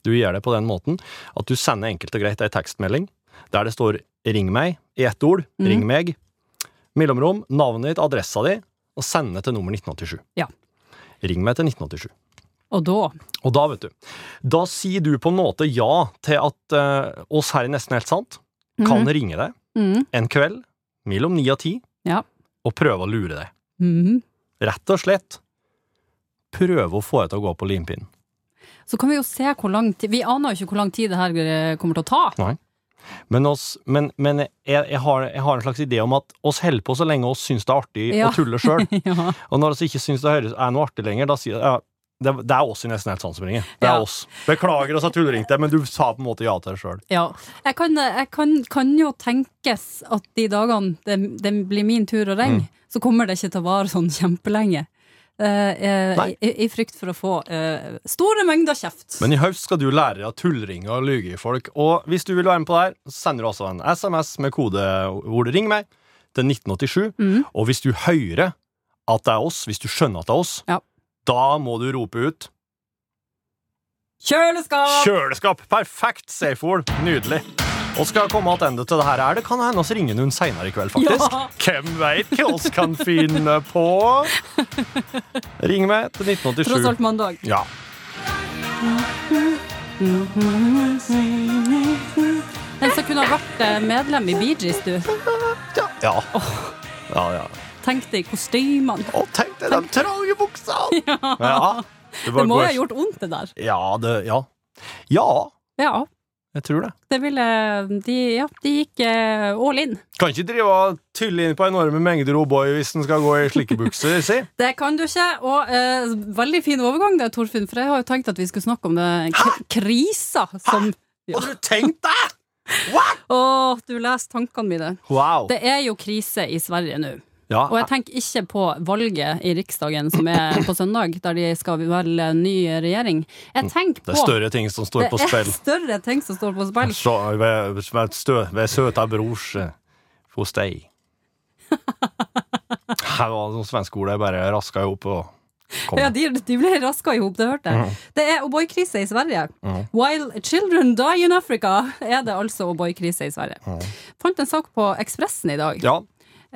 C: Du gjør det på den måten at du sender enkelt og greit ei tekstmelding der det står 'ring meg' i ett ord.
B: Mhm.
C: Ring meg. Mellomrom, navnet ditt, adressa di, og send det til nummer 1987.
B: Ja.
C: Ring meg til 1987.
B: Og da
C: Og da, vet du, da sier du på en måte ja til at eh, oss her i Nesten Helt Sant kan
B: Mhm.
C: ringe deg
B: mm,
C: en kveld mellom ni og ti
B: Ja.
C: og prøve å lure deg.
B: mm.
C: Rett og slett prøve å få deg til å gå på limpinnen.
B: Så kan vi jo se hvor lang tid Vi aner jo ikke hvor lang tid det her eh, kommer til å ta.
C: Men, oss, men, men jeg, jeg, har, jeg har en slags idé om at oss holder på så lenge oss syns det er artig
B: Ja.
C: å tulle sjøl.
B: (laughs) Ja.
C: Og når vi ikke syns det høres, er noe artig lenger, da sier ja, det, det er oss i Nesten Helt Sant som ringer. Det er
B: Ja.
C: oss. Beklager oss at du ringte, men du sa på en måte ja til det sjøl.
B: Ja. Jeg, kan, jeg kan, kan jo tenkes at de dagene det, det blir min tur å ringe,
C: Mm.
B: så kommer det ikke til å vare sånn kjempelenge. Eh, eh,
C: Nei.
B: i, I frykt for å få eh, store mengder kjeft.
C: Men i høst skal du lære deg å tullringe og lyge i folk. Og hvis du vil være med på det her, så sender du også en SMS med kodeordet 'ring meg' til 1987.
B: Mhm.
C: Og hvis du hører at det er oss, hvis du skjønner at det er oss,
B: Ja.
C: da må du rope ut
B: Kjøleskap!
C: Kjøleskap! Perfekt safe word. Nydelig. Og skal komme tilbake til det her. er Det kan hende oss ringer noen seinere i kveld, faktisk.
B: Ja.
C: Hvem veit hva oss kan finne på? Ring meg til
B: Tross
C: 1987.
B: alt mandag.
C: Ja.
B: Den som kunne ha vært eh, medlem i Bee Gees, du.
C: Ja. ja, ja.
B: Tenk deg kostymene.
C: Å, tenk deg de trange
B: (laughs)
C: buksene! Ja. Det, var
B: Det må
C: god-
B: ha gjort vondt, det der.
C: Ja, det Ja. Ja,
B: Ja,
C: jeg tror det.
B: det ville De, ja, de gikk eh, all in.
C: Kan ikke drive og tylle inn på enorme mengder O'boy hvis en skal gå i slike bukser, si.
B: Det kan du ikke. Og eh, veldig fin overgang der, Torfinn, for jeg har jo tenkt at vi skulle snakke om det k krisa som Ja.
C: (laughs) Har du tenkt deg?!
B: Å, du leser tankene mine.
C: Wow.
B: Det er jo krise i Sverige nå.
C: Ja,
B: Og jeg tenker ikke på valget i Riksdagen som er på søndag, der de skal velge ny regjering. Jeg tenker på
C: Mm. det er større ting som står på
B: (laughs) Det er
C: spill.
B: større ting som står på spill.
C: Så, ved, ved, stø, ved søta brors eh, hos deg.
B: (laughs)
C: Her var det noen svenske ord jeg bare raska opp og kom.
B: Ja, de, de ble raska i hop, det hørte jeg. Det er O'boy-krise i Sverige. While children die in Africa, er det altså O'boy-krise i Sverige. Fant en sak på Ekspressen i dag
C: Ja.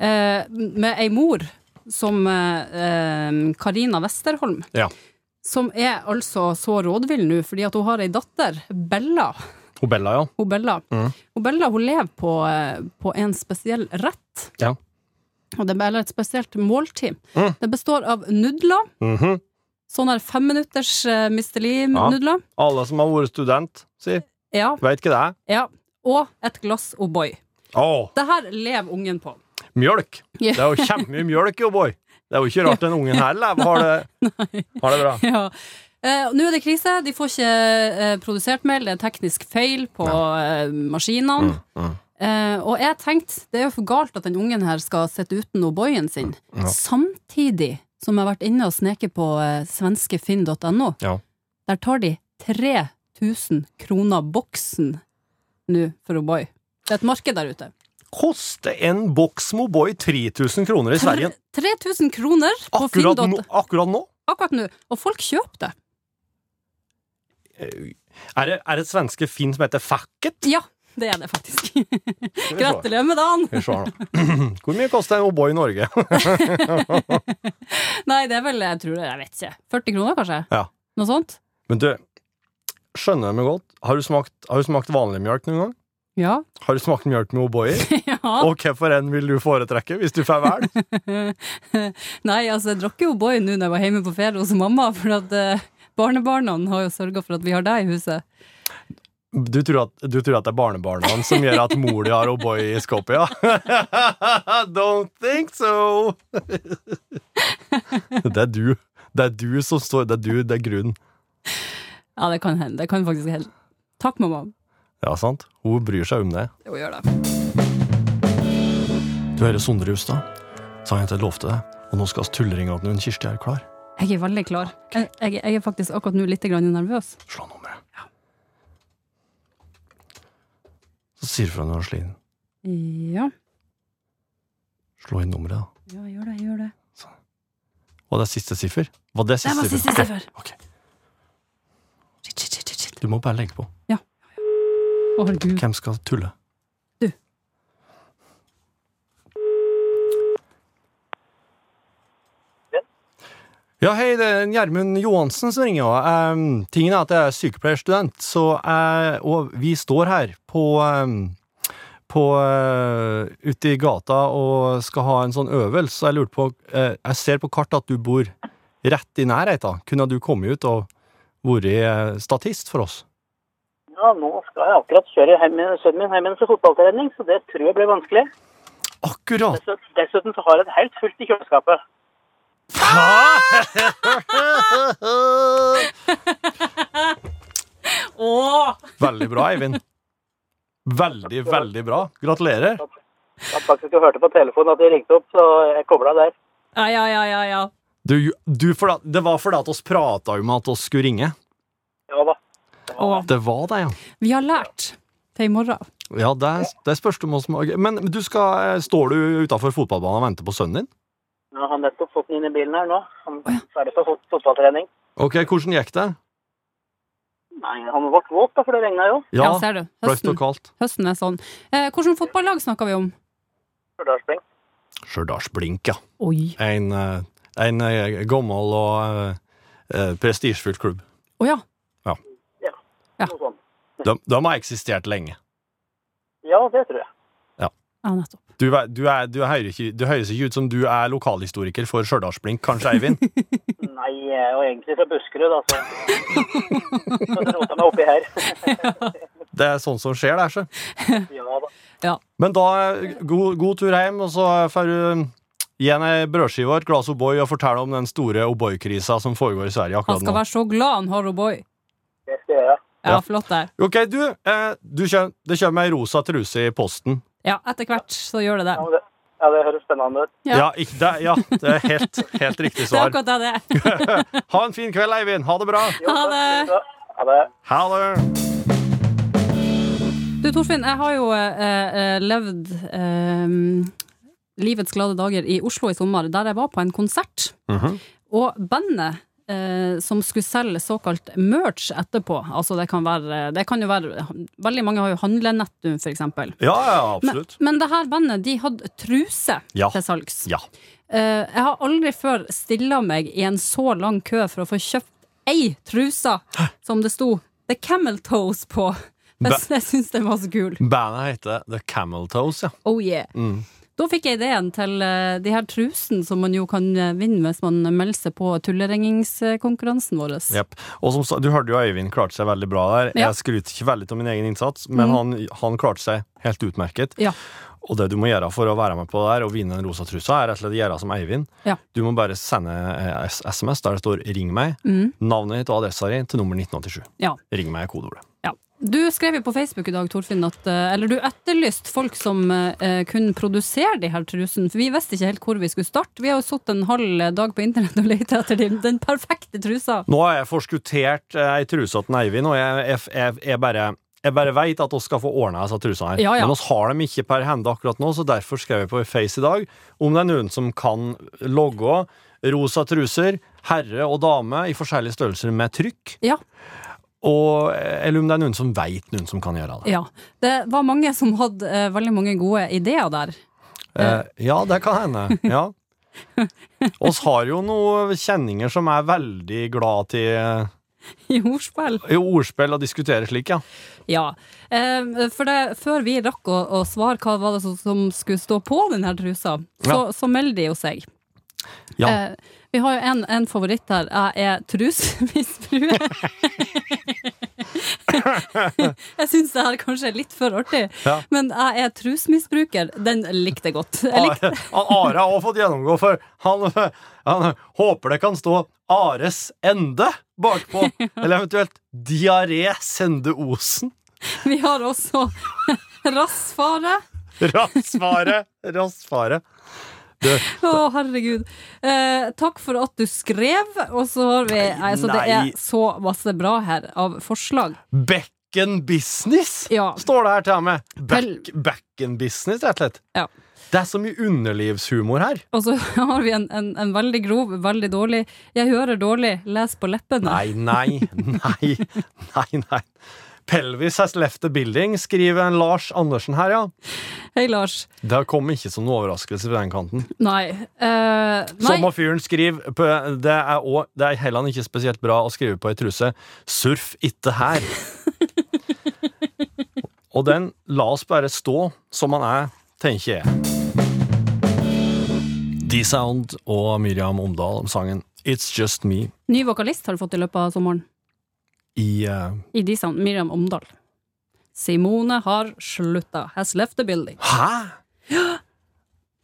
B: eh, med ei mor som eh, Karina Westerholm,
C: ja.
B: som er altså så rådvill nå fordi at hun har ei datter, Bella.
C: Hun Bella, ja.
B: Hun Bella, hun, Bella hun lever på, eh, på en spesiell rett.
C: Ja.
B: Og det er eller et spesielt måltid. Det består av nudler.
C: Mhm.
B: Sånne her femminutters uh,
C: Ja.
B: Misteli-nudler.
C: Alle som har vært student, si.
B: Ja.
C: Veit ikke det.
B: ja. Og et glass O'boy.
C: Å,
B: Det her lever ungen på.
C: mjølk!
B: Ja.
C: Det
B: (laughs)
C: er jo kjempemye mjølk, jo, boy. Det er jo ikke rart den ungen her lever. Har det, har det bra.
B: Ja. Eh, Nå er det krise. De får ikke eh, produsert mel. Det er teknisk feil på eh,
C: Mm,
B: maskinene. Eh, og jeg tenkte det er jo for galt at den ungen her skal sitte uten O'boyen sin, samtidig som jeg har vært inne og sneket på eh, svenskefinn.no.
C: Ja.
B: Der tar de 3000 kroner boksen nå for O'boy. Det er et marked der ute.
C: Koster en boks Moboy 3000 kroner i Sverige
B: 3000 kroner på
C: akkurat
B: finn.no
C: nå? Akkurat nå?
B: akkurat nå, og folk kjøper det.
C: Eh, Er det, er det svenske Finn som heter Facket?
B: Ja, det er (laughs) det faktisk.
C: Skal vi se.
B: Gratulerer med dagen!
C: Skal vi se her nå. (clears throat) Hvor mye koster en O'boy i Norge? (laughs)
B: Nei, det er vel, jeg tror det, jeg vet ikke. 40 kroner, kanskje?
C: Ja.
B: Noe sånt?
C: Men du, skjønner jeg meg godt. Har du smakt, har du smakt vanlig mjølk noen gang?
B: Ja.
C: Har du smakt mjølk med O'boy i?
B: (laughs)
C: Og hvorfor en vil du foretrekke, hvis du får velge?
B: Nei, altså, jeg drakk jo O'boy nå når jeg var hjemme på ferie hos mamma, for at eh, barnebarna har jo sørga for at vi har deg i huset.
C: Du tror, at, du tror at det er barnebarna som gjør at mor di har O'boy i skåpet, ja? (laughs) Don't think so! Det er du. Det er du som står Det er du, det er grunnen.
B: Ja, det kan hende. Det kan faktisk hende. Takk, mamma.
C: Ja, sant? Hun bryr seg om det.
F: Jo, gjør det.
C: Du hører Sondre Hustad. Sangen til Lovte deg. Og nå skal vi tulleringa til Kirsti er klar.
B: Jeg er veldig klar. Jeg, jeg, jeg er faktisk akkurat nå litt grann nervøs.
C: Slå nummeret. Så sier du fra når du er sliten.
B: Ja.
C: Slå inn nummeret, da.
B: ja, jeg gjør det, jeg gjør det.
C: Og det er siste siffer? Var det
B: Det
C: siste
B: var
C: siffer?
B: siste siffer.
C: Ok.
B: Shit, shit, shit, shit, shit.
C: Du må bare legge på.
B: Å, herregud.
C: Hvem skal tulle?
B: Du.
C: Ja, hei, det er Gjermund Johansen som ringer. ja. Em, tingen er at jeg er sykepleierstudent, så, eh, og vi står her på, em, på eh, ute i gata og skal ha en sånn øvelse. Så jeg lurte på eh, Jeg ser på kartet at du bor rett i nærheten. Kunne du komme ut og vært eh, statist for oss?
G: Ja, nå skal jeg akkurat kjøre hjemme- sønnen min hjem igjen fra fotballtrening, så det tror jeg blir vanskelig.
C: Akkurat!
G: Dessuten, dessuten så har jeg det helt fullt i kjøleskapet.
C: Veldig bra, Eivind. Veldig, veldig bra. Gratulerer.
G: Jeg har faktisk hørt på telefonen at jeg ringte opp, så jeg kobla der.
B: Ja, ja, ja, ja, ja.
C: Du, du, for da, det var fordi at oss prata om at oss skulle ringe.
G: Ja da.
B: Å,
C: Det var det, ja.
B: vi har lært til i morgen.
C: Ja, det, det spørs det om oss må- Men du skal, eh, står du utafor fotballbanen og venter på sønnen din?
G: Nå har han nettopp fått den inn i bilen her nå. Han er ferdig på fot fotballtrening.
C: Ok, hvordan gikk det?
G: Nei, han ble våt da, for det regna jo.
B: Ja,
C: Ja,
B: ser du.
C: bløtt og
B: Høsten,
C: kaldt.
B: høsten er sånn. Eh, Hvilket fotballag snakker vi om?
G: Stjørdalsblink.
C: Stjørdalsblink, ja.
B: Oi.
C: En, eh, en eh, gammel og eh, eh, prestisjefull klubb.
B: Å ja.
G: Noe sånt.
C: De, de har eksistert lenge.
G: Ja, det tror jeg.
B: Ja, nettopp.
C: Du, er- du, er, du, hører ikke, du høres ikke ut som du er lokalhistoriker for Stjørdalsblink, kanskje, Eivind?
G: Nei, jeg er jo egentlig fra Buskerud, da, så
B: (laughs)
G: Så det rota meg oppi her. (laughs)
C: Det er sånn som skjer, det er så.
G: Ja da.
C: Men da, god, god tur hjem, og så får du um, gi henne ei brødskive og et glass O'boy og fortelle om den store O'boy-krisa som foregår i Sverige
B: Han
C: akkurat
B: skal
C: nå.
B: være så glad han har O'boy.
G: Det skal jeg gjøre.
B: Ja,
C: Ja.
B: flott der.
C: Ok, du, eh, du kjø, det kommer ei rosa truse i posten.
B: Ja, etter hvert så gjør det det.
G: Ja, men det, ja, det høres spennende ut.
B: Ja.
C: Ja, ikk- det, ja det er helt, helt
B: (laughs)
C: riktig
B: Det er
C: svar.
B: akkurat det det er.
C: Ha en fin kveld, Eivind. Ha det bra.
B: Ha det!
G: Ja, ha det.
C: Ha det.
B: Du, Torfinn, jeg har jo eh, eh, levd eh, livets glade dager i Oslo i sommer, der jeg var på en konsert. Og bandet eh, som skulle selge såkalt merch etterpå, altså det kan være Det kan jo være Veldig mange har jo handlenett nå, for eksempel.
C: Ja, ja,
B: Men,
C: absolutt.
B: men det her bandet, de hadde truse
C: Ja.
B: til salgs.
C: Ja.
B: Eh, jeg har aldri før stilla meg i en så lang kø for å få kjøpt ei truse som det sto The Camel Toes på. Jeg,
C: Bæ.
B: jeg syns den var så kul.
C: Bandet heter The Camel Toes, ja.
B: Oh yeah.
C: Mm.
B: Da fikk jeg ideen til eh, de her trusene som man jo kan eh, vinne hvis man melder seg på tullerengingskonkurransen vår.
C: Jepp. Og som sa, du hørte jo Øyvind klarte seg veldig bra der.
B: Ja. Mhm.
C: Jeg skryter ikke veldig av min egen innsats, men han, han klarte seg helt utmerket.
B: Ja.
C: Og det du må gjøre for å være med på det her og vinne den rosa trusa, er rett og slett å gjøre som Eivind.
B: Ja.
C: Du må bare sende eh, S- SMS der det står 'ring meg',
B: Mm.
C: navnet ditt og adressa di til nummer 1987.
B: Ja.
C: Ring meg er kodeordet.
B: Ja. Du skrev jo på Facebook i dag, Torfinn, at eh, Eller du etterlyste folk som eh, kunne produsere de her trusene, for vi visste ikke helt hvor vi skulle starte. Vi har jo sittet en halv dag på internett og lett etter den, den perfekte trusa.
C: Nå har jeg forskuttert eh, ei truse til Eivind, og jeg, jeg, jeg, jeg bare jeg bare veit at vi skal få ordna disse trusene. her.
B: Ja, ja.
C: Men oss har dem ikke per hende akkurat nå, så derfor skrev jeg på Face i dag om det er noen som kan logge rosa truser, herre og dame i forskjellige størrelser med trykk,
B: Ja.
C: og, eh, eller om det er noen som veit noen som kan gjøre det.
B: ja. Det var mange som hadde eh, veldig mange gode ideer der.
C: Eh, ja, det kan hende. Ja. Oss har jo noen kjenninger som er veldig glad til eh,
B: I ordspill.
C: i ordspill og diskutere slik, ja.
B: Ja. Eh, for det, før vi rakk å, å svare hva var det som, som skulle stå på den her trusa, så,
C: Ja.
B: så melder de jo seg.
C: Ja.
B: Eh, vi har jo en, en favoritt her. Jeg er
C: (laughs)
B: trusemisbruker. jeg syns det her kanskje er litt for artig,
C: Ja.
B: men jeg er trusmisbruker. Den likte jeg godt. Jeg likte,
C: Are, han Are (laughs) har også fått gjennomgå, for han, (laughs) han håper det kan stå Ares ende bakpå. Eller eventuelt Diaré sende osen. (laughs)
B: vi har også (laughs) rassfare.
C: Rassfare, rassfare.
B: Å, herregud. Eh, takk for at du skrev, og så har vi Nei, så det
C: nei.
B: er så masse bra her av forslag.
C: Bekken business,
B: Ja.
C: står det her til og med.
B: Vel-
C: Back, bekken business, rett og slett.
B: Ja.
C: Det er så mye underlivshumor her.
B: Og så (laughs) har vi en, en, en veldig grov, veldig dårlig 'jeg hører dårlig, les på leppene'.
C: Nei, nei, nei, nei, nei. Pelvis has left the building, skriver en Lars Andersen her, ja.
B: Hei, Lars.
C: Det kom ikke som noen overraskelse fra den kanten.
B: Nei. eh, nei.
C: Som av fyren skriver på, det, er også, det er heller ikke spesielt bra å skrive på ei truse. Surf itte her. Og den la oss bare stå som han er, tenker jeg. D-Sound og Miriam Omdal om sangen It's Just Me
B: Ny vokalist har du fått i løpet av sommeren.
C: i eh,
B: I de sammen, Miriam Omdal. Simone har slutta. Has left the building.
C: Hæ?!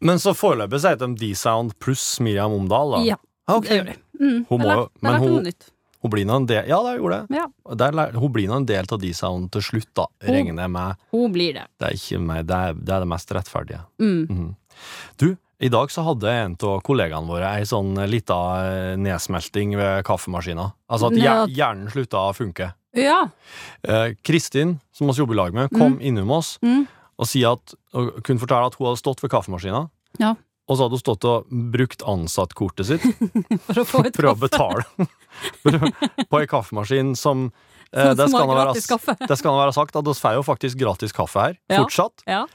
C: Men så foreløpig så heter de D-Sound pluss Miriam Omdal, da. Ah,
B: Ja,
C: Ok.
B: det gjør de. Mm.
C: Hun må
B: Jeg
C: jo-
B: lærte- jeg
C: men
B: lærte
C: hun-
B: noe nytt.
C: Hun blir nå en del Ja, det gjorde det.
B: Ja,
C: Og Der, lær- hun blir nå en del av D-Sound til slutt, da,
B: Hun-
C: regner jeg med.
B: hun blir det.
C: Det er, ikke meg, det, er, det er det mest rettferdige.
B: Mm.
C: Mhm. Du, i dag så hadde en av kollegaene våre ei sånn lita eh, nedsmelting ved kaffemaskina. Altså at
B: Nei,
C: hjer-
B: at-
C: hjernen slutta å funke.
B: Ja.
C: Eh, Kristin, som vi jobber i lag med, kom innom oss
B: Mm.
C: og, sier at, og kunne fortelle at hun hadde stått ved kaffemaskina.
B: Ja.
C: Og så hadde hun stått og brukt ansattkortet sitt
B: For å få
C: (laughs)
B: et (laughs)
C: for å betale på ei kaffemaskin som eh,
B: Som-
C: det,
B: som
C: skal
B: har
C: nå være,
B: gratis kaffe.
C: det skal nå være sagt at vi får jo faktisk gratis kaffe her,
B: Ja.
C: fortsatt.
B: Ja.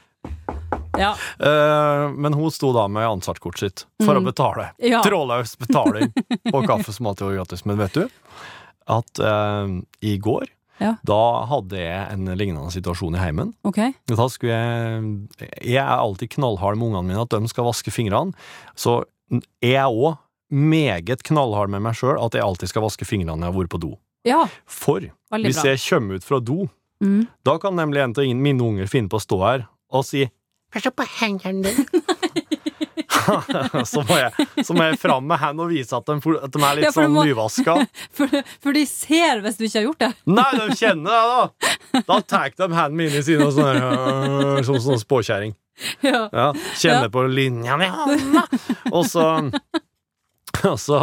B: ja.
C: Eh, men hun sto da med ansattkortet sitt for å betale.
B: Mm. Ja.
C: Trådløs betaling på
B: (laughs)
C: kaffe som alltid var gratis. Men vet du at eh, i går
B: Ja.
C: da hadde jeg en lignende situasjon i heimen.
B: Ok.
C: Da skulle jeg Jeg er alltid knallhard med ungene mine at de skal vaske fingrene. Så jeg er òg meget knallhard med meg sjøl at jeg alltid skal vaske fingrene når jeg har vært på do.
B: Ja,
C: For
B: veldig
C: hvis
B: bra.
C: jeg kommer ut fra do,
B: Mm.
C: da kan nemlig en av mine unger finne på å stå her og si Pass på
B: (laughs)
C: hendene dine. (laughs) så, må jeg, så må jeg fram med hendene og vise at de, at de er litt
B: Ja, for du
C: sånn
B: må-
C: nyvaska.
B: For, for de ser hvis du ikke har gjort det. (laughs)
C: Nei, de kjenner det, da! Da tar de hendene mine i sine og sånn øh, som sånn (laughs) spåkjerring.
B: Ja.
C: Ja, kjenner
B: Ja.
C: på linjene i hånda. Og så, og så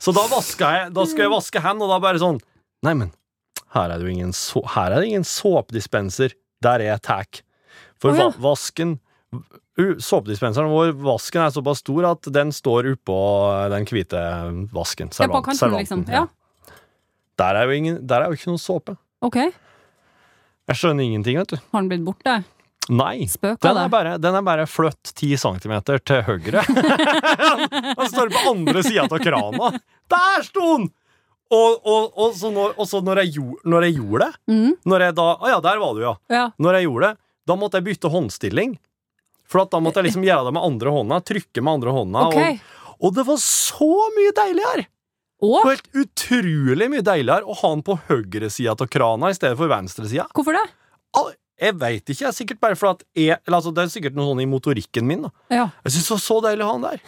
C: Så da vaska jeg Da skulle jeg vaske hendene, og da bare sånn Neimen, her er det jo ingen, så, her er det ingen såpedispenser. Der er jeg tack. For
B: Å, ja.
C: va vasken u- Såpedispenseren vår, vasken er såpass stor at den står oppå den hvite vasken.
B: Ja, på
C: servan-
B: kanten,
C: servanten,
B: liksom.
C: ja.
B: Ja.
C: Der, er jo ingen, der er jo ikke noe såpe.
B: Ok. Har
C: Jeg skjønner ingenting, vet du.
B: den blitt borte?
C: Nei.
B: Spøka
C: Den er,
B: det?
C: bare, den er bare fløtt 10 centimeter til høyre. (laughs) Han står på andre sida av krana. Der sto han! Og, og, og så, når, og så når, jeg gjorde, når jeg gjorde det
B: Mhm.
C: Når jeg da, Å ja, der var du, ja.
B: Ja.
C: Når jeg gjorde det, da måtte jeg bytte håndstilling. For at da måtte jeg liksom gjøre det med andre hånda. Trykke med andre hånda.
B: Ok.
C: Og, og det var så mye deiligere! Det
B: Og
C: var helt utrolig mye deiligere å ha den på høyresida av krana i stedet for venstresida.
B: hvorfor det?
C: Jeg veit ikke. jeg er sikkert bare for at jeg, eller altså, Det er sikkert noe sånn i motorikken min. da.
B: Ja.
C: Jeg syns det var så deilig å ha han der.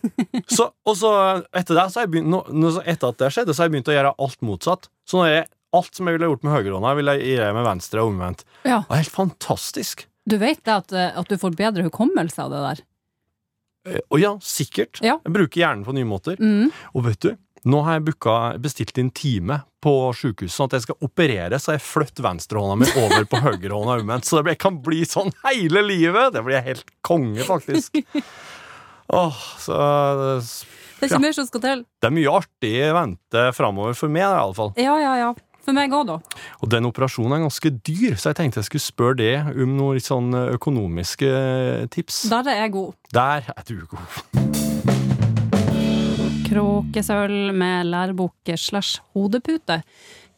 B: (laughs)
C: så, og så etter det så har jeg begynt, nå, nå, så etter at det skjedde, så har jeg begynt å gjøre alt motsatt. Så nå har jeg, alt som jeg ville gjort med høyrehånda, vil jeg gjøre med venstre og omvendt.
B: Ja.
C: Det er helt fantastisk.
B: Du vet det at, eh, at du får bedre hukommelse av det der?
C: Eh, Og ja, sikkert.
B: Ja.
C: Jeg bruker hjernen på nye måter.
B: Mm.
C: Og vet du, nå har jeg booka, bestilt en time på sjukehuset, sånn at jeg skal operere, så jeg flytter venstrehånda mi over
B: (laughs)
C: på høyrehånda omvendt. Så det blir- jeg kan bli sånn hele livet! Det blir helt konge,
B: (laughs)
C: faktisk. Åh, så eh,
B: Det er ikke mer som skal til.
C: Det er mye artig i vente framover for meg, iallfall.
B: Ja, ja, ja. For meg òg, da.
C: Og den operasjonen er ganske dyr, så jeg tenkte jeg skulle spørre det om noen litt sånn økonomiske eh, tips.
B: Der er jeg god.
C: Der er du god.
B: Kråkesølv med lærebok slash hodepute.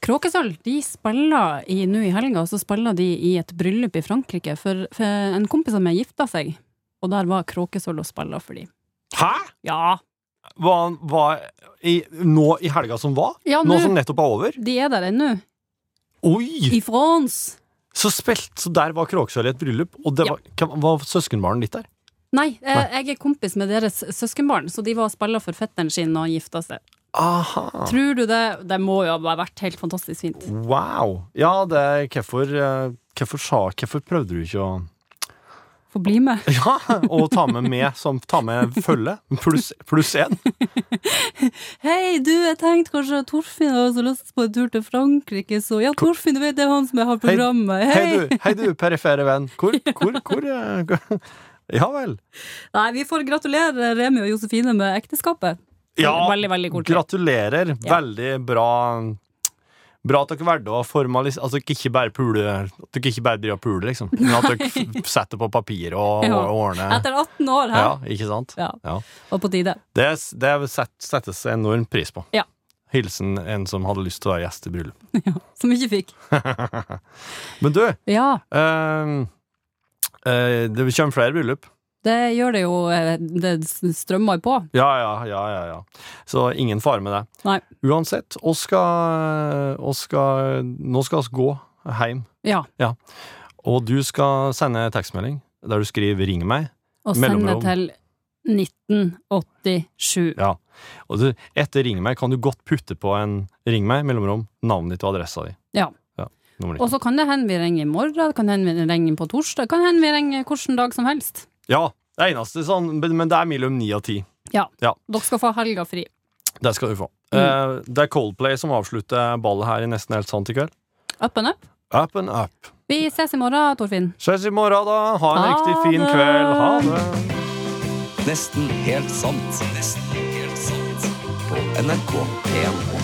B: Kråkesølv de spiller i, nå i helga så spiller de i et bryllup i Frankrike. For, for en kompis av meg gifta seg, og der var Kråkesølv og spilla for de.
C: Hæ?!
B: Ja,
C: Hva, hva i, Nå i helga som var?
B: Ja,
C: nå
B: nå.
C: som nettopp er over?
B: de er der ennå.
C: Oi!
B: I France!
C: Så spilt! Så der var Kråkesølv i et bryllup, og det
B: Ja.
C: var, hvem, var søskenbarnet ditt der?
B: Nei, eh, jeg er kompis med deres søskenbarn, så de var og spilla for fetteren sin og gifta seg.
C: Aha!
B: Tror du det? Det må jo ha vært helt fantastisk fint.
C: Wow! Ja, det er hvorfor eh, Hvorfor sa Hvorfor prøvde du ikke å
B: Få bli med.
C: (laughs) Ja, og ta med meg som ta med følge, pluss pluss én.
B: Hei, du, jeg tenkte kanskje at Torfinn har så lyst på en tur til Frankrike, så ja, Torfinn, du vet det er han som jeg har programmet. Hei!
C: Hei du, hei du, perifere venn. Hvor, hvor, hvor eh, hvor- Ja vel.
B: Nei, vi får gratulere Remi og Josefine med ekteskapet.
C: Ja,
B: Veldig, veldig koselig.
C: gratulerer.
B: Ja.
C: Veldig bra. Bra at dere valgte å formalisere At dere ikke bare puler, at dere ikke bare driver og puler, liksom. Men at dere f- setter på papir og,
B: Ja.
C: og ordner
B: Etter 18 år, hæ?
C: Ja, ikke sant?
B: Ja.
C: Ja.
B: Var på tide.
C: Det, s- det set- settes enorm pris på.
B: Ja.
C: Hilsen en som hadde lyst til å være gjest i bryllup.
B: Som ikke fikk.
C: Men du,
B: Ja,
C: Ehm, eh, det kommer flere bryllup.
B: det gjør det jo. eh, Det strømmer på.
C: Ja, ja, ja, ja, ja. Så ingen fare med det.
B: Nei.
C: Uansett, oss skal, oss skal Nå skal oss gå hjem,
B: Ja.
C: og du skal sende tekstmelding der du skriver 'ring meg'.
B: Og sende
C: Mellomrom.
B: til 1987.
C: Ja. Og du, etter 'ring meg' kan du godt putte på en 'ring meg', mellomrom, navnet ditt og adressa di.
B: Ja.
C: Nummer
B: Og
C: ditt.
B: så kan det hende vi ringer i morgen, det kan hende vi ringer på torsdag, kan hende vi ringer hvilken dag som helst.
C: Ja, det eneste sånn, men men det er mellom ni og ti.
B: Dere skal få helga fri.
C: Det skal du få.
B: Mm.
C: Eh, det er Coldplay som avslutter ballet her i Nesten helt sant i kveld.
B: Up and up.
C: Up and up.
B: Vi ses i morgen, Torfinn.
C: Ses i morgen, da. Ha en
B: Ha
C: riktig fin
B: det.
C: kveld. Ha det.
H: Nesten helt sant. Nesten helt sant. På NRK P1.